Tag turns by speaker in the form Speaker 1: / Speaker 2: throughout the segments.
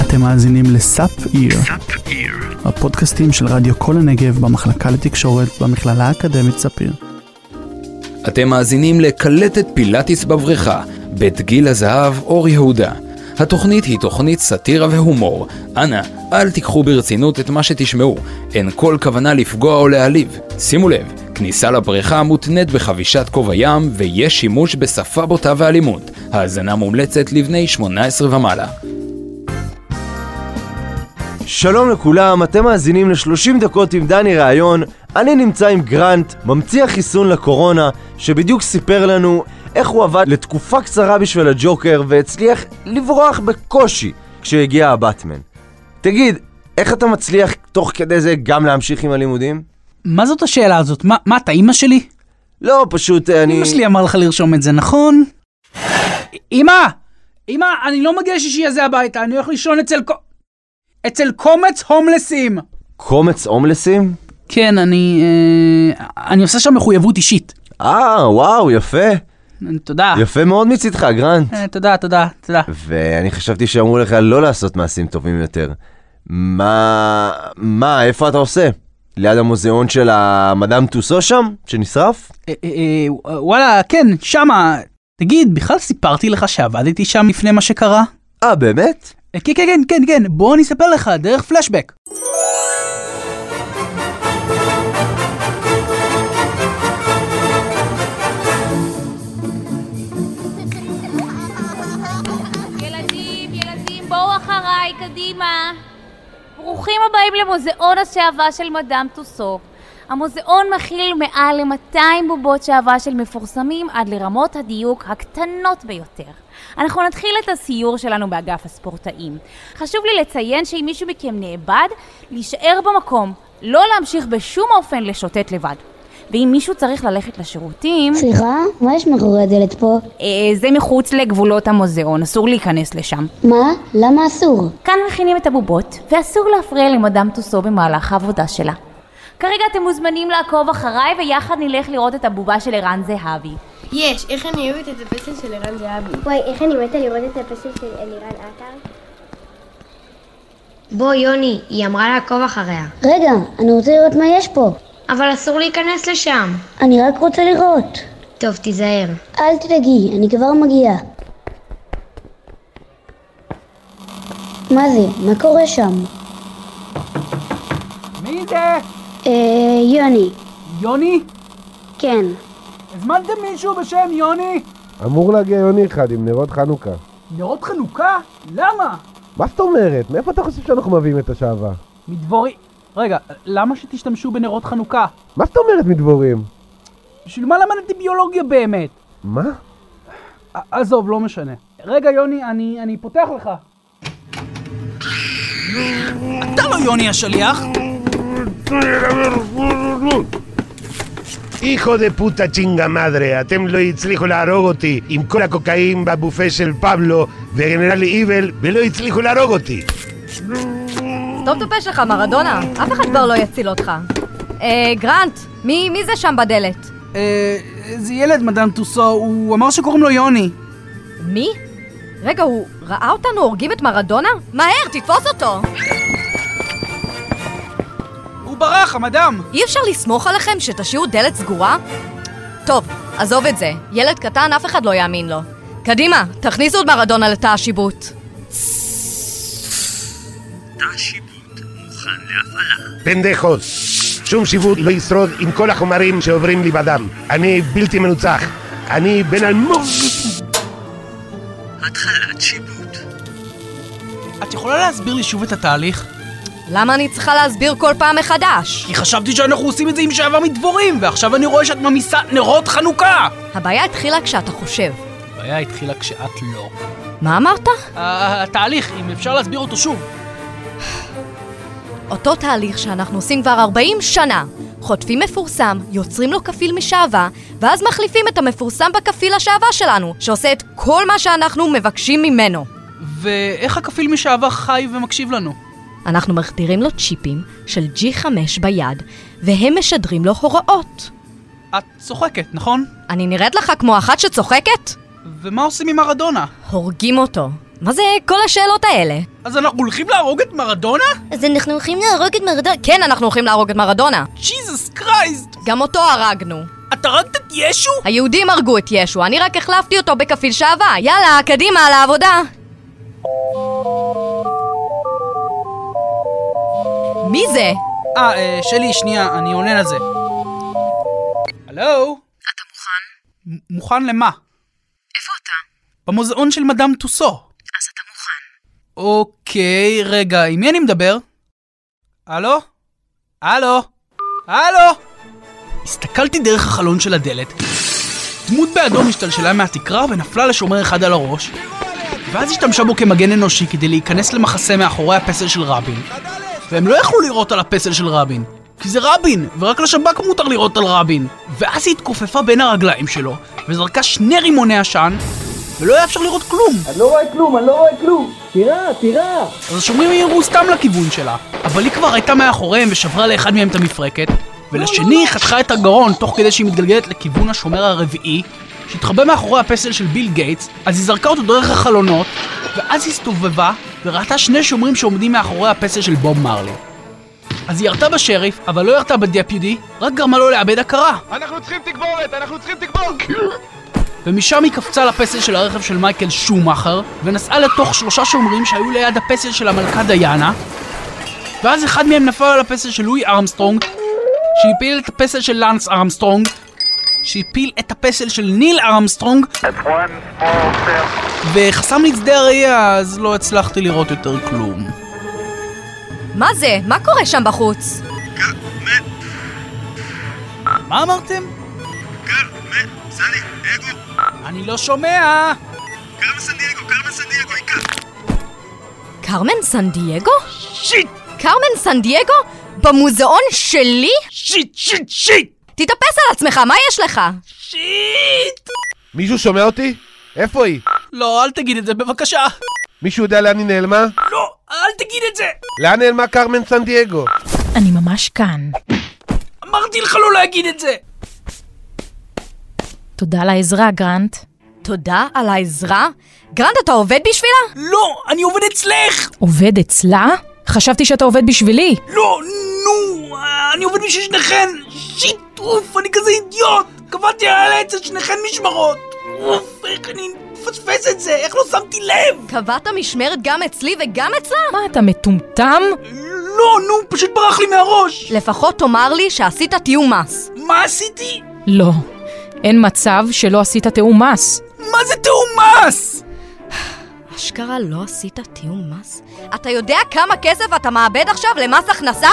Speaker 1: אתם מאזינים לסאפ איר, הפודקאסטים של רדיו כל הנגב במחלקה לתקשורת במכללה האקדמית ספיר.
Speaker 2: אתם מאזינים לקלטת פילאטיס בבריכה, בית גיל הזהב, אור יהודה. התוכנית היא תוכנית סאטירה והומור. אנא, אל תיקחו ברצינות את מה שתשמעו. אין כל כוונה לפגוע או להעליב. שימו לב, כניסה לבריכה מותנית בחבישת כובע ים, ויש שימוש בשפה בוטה ואלימות. האזנה מומלצת לבני 18 ומעלה.
Speaker 3: שלום לכולם, אתם מאזינים ל-30 דקות עם דני ראיון. אני נמצא עם גרנט, ממציא החיסון לקורונה, שבדיוק סיפר לנו איך הוא עבד לתקופה קצרה בשביל הג'וקר והצליח לברוח בקושי כשהגיע הבטמן. תגיד, איך אתה מצליח תוך כדי זה גם להמשיך עם הלימודים?
Speaker 4: מה זאת השאלה הזאת? מה, מה אתה אימא שלי?
Speaker 3: לא, פשוט אה, אני...
Speaker 4: אימא שלי אמר לך לרשום את זה, נכון? אימא! אימא, אני לא מגיע שישי הזה הביתה, אני הולך לישון אצל... ק- אצל קומץ הומלסים!
Speaker 3: קומץ הומלסים?
Speaker 4: כן, אני... אה, אני עושה שם מחויבות אישית.
Speaker 3: אה, וואו, יפה.
Speaker 4: תודה.
Speaker 3: יפה מאוד מצידך, גרנט.
Speaker 4: אה, תודה, תודה, תודה.
Speaker 3: ואני חשבתי שאמרו לך לא לעשות מעשים טובים יותר. מה... מה, איפה אתה עושה? ליד המוזיאון של המדאם טוסו שם? שנשרף?
Speaker 4: אה, אה, אה, וואלה, כן, שמה. תגיד, בכלל סיפרתי לך שעבדתי שם לפני מה שקרה?
Speaker 3: אה, באמת?
Speaker 4: אה, כן, כן, כן, כן, כן, בוא אני אספר לך, דרך פלשבק.
Speaker 5: ילדים, ילדים, בואו אחריי, קדימה. ברוכים הבאים למוזיאון השעווה של מדאם טוסו. המוזיאון מכיל מעל ל-200 בובות שעווה של מפורסמים עד לרמות הדיוק הקטנות ביותר. אנחנו נתחיל את הסיור שלנו באגף הספורטאים. חשוב לי לציין שאם מישהו מכם נאבד, להישאר במקום, לא להמשיך בשום אופן לשוטט לבד. ואם מישהו צריך ללכת לשירותים...
Speaker 6: סליחה? מה יש מאחורי הדלת פה?
Speaker 5: אה, זה מחוץ לגבולות המוזיאון, אסור להיכנס לשם.
Speaker 6: מה? למה אסור?
Speaker 5: כאן מכינים את הבובות, ואסור להפריע למדאם טוסו במהלך העבודה שלה. כרגע אתם מוזמנים לעקוב אחריי, ויחד נלך לראות את הבובה של ערן זהבי.
Speaker 7: יש, איך אני אוהבת את הפסל של ערן זהבי.
Speaker 8: וואי, איך אני מתה לראות את הפסל של אלירן אה, עטר? בוא, יוני, היא אמרה לעקוב אחריה.
Speaker 6: רגע, אני רוצה לראות מה יש פה.
Speaker 8: אבל אסור להיכנס לשם.
Speaker 6: אני רק רוצה לראות.
Speaker 8: טוב, תיזהר.
Speaker 6: אל תדאגי, אני כבר מגיעה. מה זה? מה קורה שם?
Speaker 4: מי זה?
Speaker 6: אה... יוני.
Speaker 4: יוני?
Speaker 6: כן.
Speaker 4: הזמנתם מישהו בשם יוני?
Speaker 9: אמור להגיע יוני אחד עם נרות חנוכה.
Speaker 4: נרות חנוכה? למה?
Speaker 9: מה זאת אומרת? מאיפה אתה חושב שאנחנו מביאים את השעווה?
Speaker 4: מדבורי... רגע, למה שתשתמשו בנרות חנוכה?
Speaker 9: מה זאת אומרת מדבורים?
Speaker 4: בשביל מה למדתי ביולוגיה באמת?
Speaker 9: מה?
Speaker 4: ע- עזוב, לא משנה. רגע, יוני, אני, אני פותח לך. אתה לא יוני השליח?
Speaker 10: היכו דה פוטה צ'ינגה מדרה, אתם לא הצליחו להרוג אותי עם כל הקוקאים בבופה של פבלו וגנרל איבל ולא הצליחו להרוג אותי.
Speaker 11: סתום את הפה שלך, מרדונה. אף אחד כבר לא יציל אותך. אה, גרנט, מי, מי זה שם בדלת?
Speaker 4: אה, זה ילד, מדאם טוסו, הוא אמר שקוראים לו יוני.
Speaker 11: מי? רגע, הוא ראה אותנו הורגים את מרדונה? מהר, תתפוס אותו!
Speaker 4: הוא ברח, המדאם.
Speaker 11: אי אפשר לסמוך עליכם שתשאירו דלת סגורה? טוב, עזוב את זה. ילד קטן, אף אחד לא יאמין לו. קדימה, תכניסו את מרדונה לתא השיבוט.
Speaker 10: פנדחות. שום שיבוט לא ישרוד עם כל החומרים שעוברים לי בדם. אני בלתי מנוצח. אני בן אלמוג.
Speaker 4: את יכולה להסביר לי שוב את התהליך?
Speaker 11: למה אני צריכה להסביר כל פעם מחדש?
Speaker 4: כי חשבתי שאנחנו עושים את זה עם שעבר מדבורים, ועכשיו אני רואה שאת ממיסה נרות חנוכה!
Speaker 11: הבעיה התחילה כשאתה חושב.
Speaker 4: הבעיה התחילה כשאת לא.
Speaker 11: מה אמרת?
Speaker 4: התהליך, אם אפשר להסביר אותו שוב.
Speaker 11: אותו תהליך שאנחנו עושים כבר 40 שנה. חוטפים מפורסם, יוצרים לו כפיל משעווה, ואז מחליפים את המפורסם בכפיל השעווה שלנו, שעושה את כל מה שאנחנו מבקשים ממנו.
Speaker 4: ואיך הכפיל משעבר חי ומקשיב לנו?
Speaker 11: אנחנו מחדירים לו צ'יפים של G5 ביד, והם משדרים לו הוראות.
Speaker 4: את צוחקת, נכון?
Speaker 11: אני נראית לך כמו אחת שצוחקת?
Speaker 4: ומה עושים עם מרדונה?
Speaker 11: הורגים אותו. מה זה כל השאלות האלה?
Speaker 4: אז אנחנו הולכים להרוג את מרדונה?
Speaker 11: אז אנחנו הולכים להרוג את מרדונה? כן, אנחנו הולכים להרוג את מרדונה.
Speaker 4: ג'יזוס קרייסט!
Speaker 11: גם אותו הרגנו.
Speaker 4: את הרגת את ישו?
Speaker 11: היהודים הרגו את ישו, אני רק החלפתי אותו בכפיל שעבה. יאללה, קדימה, לעבודה. מי זה?
Speaker 4: אה, אה, שלי, שנייה, אני עונה לזה. הלו?
Speaker 5: אתה מוכן?
Speaker 4: מ- מוכן למה?
Speaker 5: איפה אתה?
Speaker 4: במוזיאון של מדאם טוסו.
Speaker 5: אז אתה מוכן.
Speaker 4: אוקיי, רגע, עם מי אני מדבר? הלו? הלו? הלו? הסתכלתי דרך החלון של הדלת, דמות באדום השתלשלה מהתקרה ונפלה לשומר אחד על הראש, ואז השתמשה בו כמגן אנושי כדי להיכנס למחסה מאחורי הפסל של רבין. והם לא יכלו לירות על הפסל של רבין, כי זה רבין, ורק לשב"כ מותר לירות על רבין. ואז היא התכופפה בין הרגליים שלו, וזרקה שני רימוני עשן, ולא היה אפשר לראות כלום.
Speaker 12: אני לא רואה כלום, אני לא רואה כלום! תירה, תירה!
Speaker 4: אז השומרים ירו סתם לכיוון שלה, אבל היא כבר הייתה מאחוריהם ושברה לאחד מהם את המפרקת, ולשני היא חתכה את הגרון תוך כדי שהיא מתגלגלת לכיוון השומר הרביעי, שהתחבא מאחורי הפסל של ביל גייטס, אז היא זרקה אותו דרך החלונות, ואז היא הסתובבה וראתה שני שומרים שעומדים מאחורי הפסל של בוב מרלי. אז היא ירתה בשריף, אבל לא ירתה בדפיודי, רק גרמה לו לאבד הכרה.
Speaker 13: אנחנו צריכים תגבורת! אנחנו צריכים תגבורת!
Speaker 4: ומשם היא קפצה לפסל של הרכב של מייקל שומאכר, ונסעה לתוך שלושה שומרים שהיו ליד הפסל של המלכה דיאנה, ואז אחד מהם נפל על הפסל של לואי ארמסטרונג, שהפיל את הפסל של לנס ארמסטרונג, שהפיל את הפסל של ניל ארמסטרונג, וחסם לי את שדה הראייה, אז לא הצלחתי לראות יותר כלום.
Speaker 11: מה זה? מה קורה שם בחוץ?
Speaker 4: מה אמרתם? אני לא שומע!
Speaker 11: קרמן סן דייגו? שיט! קרמן סן דייגו? במוזיאון שלי?
Speaker 4: שיט, שיט, שיט!
Speaker 11: תתאפס על עצמך, מה יש לך?
Speaker 4: שיט!
Speaker 9: מישהו שומע אותי? איפה היא?
Speaker 4: לא, אל תגיד את זה בבקשה!
Speaker 9: מישהו יודע לאן היא נעלמה?
Speaker 4: לא, אל תגיד את זה!
Speaker 9: לאן נעלמה קרמן סן דייגו?
Speaker 5: אני ממש כאן.
Speaker 4: אמרתי לך לא להגיד את זה!
Speaker 5: תודה על העזרה, גרנט.
Speaker 11: תודה על העזרה? גרנט, אתה עובד בשבילה?
Speaker 4: לא, אני עובד אצלך!
Speaker 5: עובד אצלה? חשבתי שאתה עובד בשבילי.
Speaker 4: לא, נו, אני עובד בשביל שניכן! שיט, אוף, אני כזה אידיוט! קבעתי על העץ את שניכן משמרות! אוף, איך אני מפספס את זה? איך לא שמתי לב?
Speaker 11: קבעת משמרת גם אצלי וגם אצלה?
Speaker 5: מה, אתה מטומטם?
Speaker 4: לא, נו, פשוט ברח לי מהראש!
Speaker 11: לפחות תאמר לי שעשית תיאום מס.
Speaker 4: מה עשיתי?
Speaker 5: לא. אין מצב שלא עשית תיאום מס.
Speaker 4: מה זה תיאום מס?
Speaker 11: אשכרה לא עשית תיאום מס? אתה יודע כמה כסף אתה מאבד עכשיו למס הכנסה?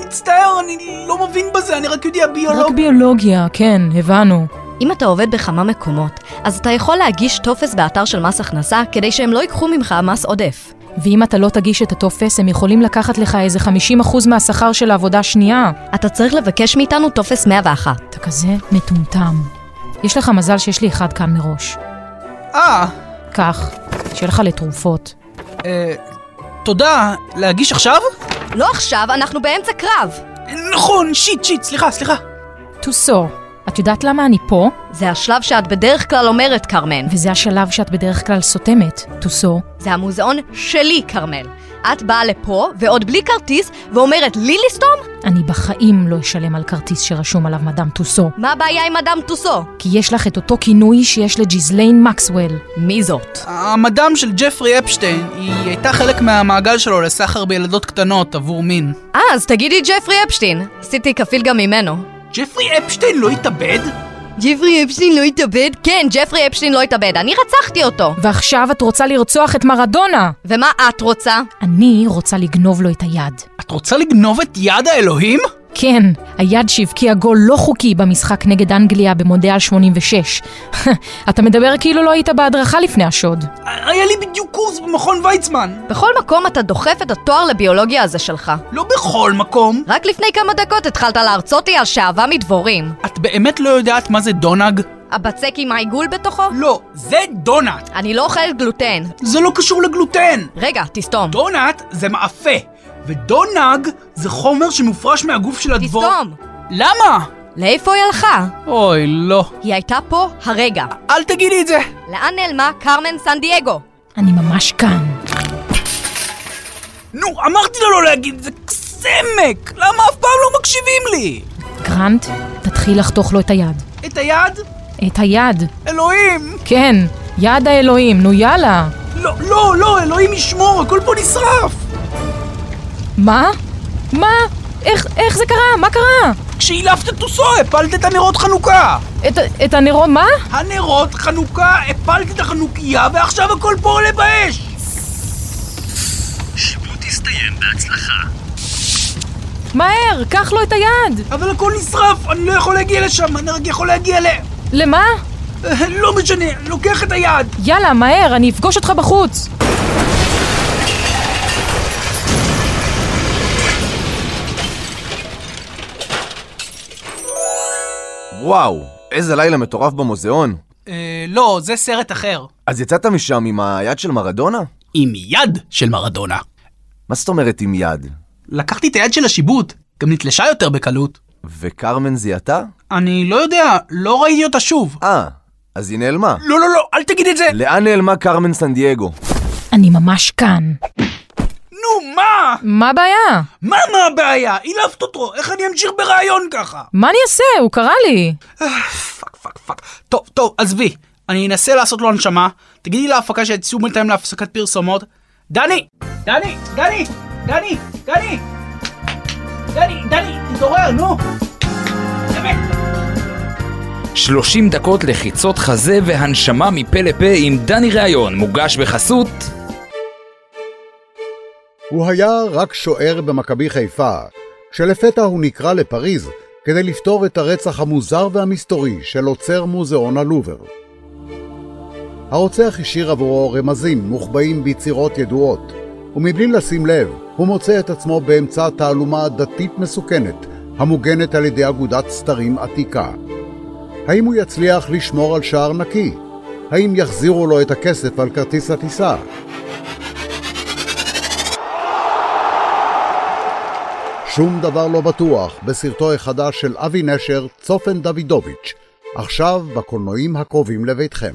Speaker 4: מצטער, אני לא מבין בזה, אני רק יודע ביולוגיה.
Speaker 5: רק לא ביולוגיה, כן, הבנו.
Speaker 11: אם אתה עובד בכמה מקומות, אז אתה יכול להגיש טופס באתר של מס הכנסה כדי שהם לא ייקחו ממך מס עודף.
Speaker 5: ואם אתה לא תגיש את הטופס, הם יכולים לקחת לך איזה 50% מהשכר של העבודה השנייה.
Speaker 11: אתה צריך לבקש מאיתנו טופס 101.
Speaker 5: אתה כזה מטומטם. יש לך מזל שיש לי אחד כאן מראש.
Speaker 4: אה.
Speaker 5: קח, שיהיה לך לתרופות.
Speaker 4: אה... תודה, להגיש עכשיו?
Speaker 11: לא עכשיו, אנחנו באמצע קרב.
Speaker 4: נכון, שיט, שיט, סליחה, סליחה.
Speaker 5: טוסו, את יודעת למה אני פה?
Speaker 11: זה השלב שאת בדרך כלל אומרת, כרמל.
Speaker 5: וזה השלב שאת בדרך כלל סותמת, טוסו.
Speaker 11: זה המוזיאון שלי, כרמל. את באה לפה, ועוד בלי כרטיס, ואומרת לי לסתום?
Speaker 5: אני בחיים לא אשלם על כרטיס שרשום עליו מדאם טוסו.
Speaker 11: מה הבעיה עם מדאם טוסו?
Speaker 5: כי יש לך את אותו כינוי שיש לג'יזליין מקסוול.
Speaker 11: מי זאת?
Speaker 4: המדאם של ג'פרי אפשטיין, היא הייתה חלק מהמעגל שלו לסחר בילדות קטנות עבור מין.
Speaker 11: אה, אז תגידי ג'פרי אפשטיין. עשיתי כפיל גם ממנו.
Speaker 4: ג'פרי אפשטיין לא התאבד?
Speaker 11: ג'פרי אפשטיין לא התאבד? כן, ג'פרי אפשטיין לא התאבד, אני רצחתי אותו.
Speaker 5: ועכשיו את רוצה לרצוח את מרדונה.
Speaker 11: ומה את רוצה?
Speaker 5: אני רוצה לגנוב לו את היד.
Speaker 4: את רוצה לגנוב את יד האלוהים?
Speaker 5: כן, היד שהבקיע גול לא חוקי במשחק נגד אנגליה במונדיאל 86. אתה מדבר כאילו לא היית בהדרכה לפני השוד.
Speaker 4: היה לי בדיוק קורס במכון ויצמן.
Speaker 11: בכל מקום אתה דוחף את התואר לביולוגיה הזה שלך.
Speaker 4: לא בכל מקום.
Speaker 11: רק לפני כמה דקות התחלת להרצות לי על שעווה מדבורים.
Speaker 4: את באמת לא יודעת מה זה דונג?
Speaker 11: הבצק עם העיגול בתוכו?
Speaker 4: לא, זה דונאט.
Speaker 11: אני לא אוכלת גלוטן.
Speaker 4: זה לא קשור לגלוטן.
Speaker 11: רגע, תסתום.
Speaker 4: דונאט זה מאפה. ודונג זה חומר שמופרש מהגוף של הדבור...
Speaker 11: תסתום!
Speaker 4: למה?
Speaker 11: לאיפה היא הלכה?
Speaker 4: אוי, לא.
Speaker 11: היא הייתה פה הרגע.
Speaker 4: אל תגידי את זה!
Speaker 11: לאן נעלמה קרמן סן דייגו? אני ממש כאן.
Speaker 4: נו, אמרתי לו לא להגיד, זה סמק! למה אף פעם לא מקשיבים לי?
Speaker 11: גרנט, תתחיל לחתוך לו את היד.
Speaker 4: את היד?
Speaker 11: את היד.
Speaker 4: אלוהים!
Speaker 11: כן, יד האלוהים, נו יאללה.
Speaker 4: לא, לא, לא, אלוהים ישמור, הכל פה נשרף!
Speaker 11: מה? מה? איך, איך זה קרה? מה קרה?
Speaker 4: כשהילפת את טוסו, הפלת את הנרות חנוכה!
Speaker 11: את, את הנרות, מה?
Speaker 4: הנרות חנוכה, הפלת את החנוכיה, ועכשיו הכל פה עולה באש!
Speaker 14: שבו לא תסתיים בהצלחה.
Speaker 11: מהר, קח לו את היד!
Speaker 4: אבל הכל נשרף, אני לא יכול להגיע לשם, אני רק יכול להגיע ל...
Speaker 11: למה?
Speaker 4: לא משנה, לוקח את היד!
Speaker 11: יאללה, מהר, אני אפגוש אותך בחוץ!
Speaker 3: וואו, איזה לילה מטורף במוזיאון.
Speaker 4: אה, לא, זה סרט אחר.
Speaker 3: אז יצאת משם עם היד של מרדונה?
Speaker 4: עם יד של מרדונה.
Speaker 3: מה זאת אומרת עם יד?
Speaker 4: לקחתי את היד של השיבוט, גם נתלשה יותר בקלות.
Speaker 3: וקרמן זיהתה?
Speaker 4: אני לא יודע, לא ראיתי אותה שוב.
Speaker 3: אה, אז היא נעלמה.
Speaker 4: לא, לא, לא, אל תגיד את זה!
Speaker 3: לאן נעלמה קרמן סנדייגו?
Speaker 11: אני ממש כאן.
Speaker 4: נו, מה?
Speaker 11: מה הבעיה?
Speaker 4: מה, מה הבעיה? אילפת אותו, איך אני אמשיך ברעיון ככה?
Speaker 11: מה אני אעשה? הוא קרא לי.
Speaker 4: פאק, פאק, פאק. טוב, טוב, עזבי. אני אנסה לעשות לו הנשמה. תגידי להפקה שיצאו בינתיים להפסקת פרסומות. דני! דני! דני! דני! דני! דני! דני! תתעורר, נו!
Speaker 2: 30 דקות לחיצות חזה והנשמה מפה לפה עם דני ראיון, מוגש בחסות...
Speaker 10: הוא היה רק שוער במכבי חיפה, כשלפתע הוא נקרא לפריז כדי לפתור את הרצח המוזר והמסתורי של עוצר מוזיאון הלובר. הרוצח השאיר עבורו רמזים מוחבאים ביצירות ידועות, ומבלי לשים לב, הוא מוצא את עצמו באמצע תעלומה דתית מסוכנת, המוגנת על ידי אגודת סתרים עתיקה. האם הוא יצליח לשמור על שער נקי? האם יחזירו לו את הכסף על כרטיס הטיסה? שום דבר לא בטוח בסרטו החדש של אבי נשר, צופן דוידוביץ', עכשיו בקולנועים הקרובים לביתכם.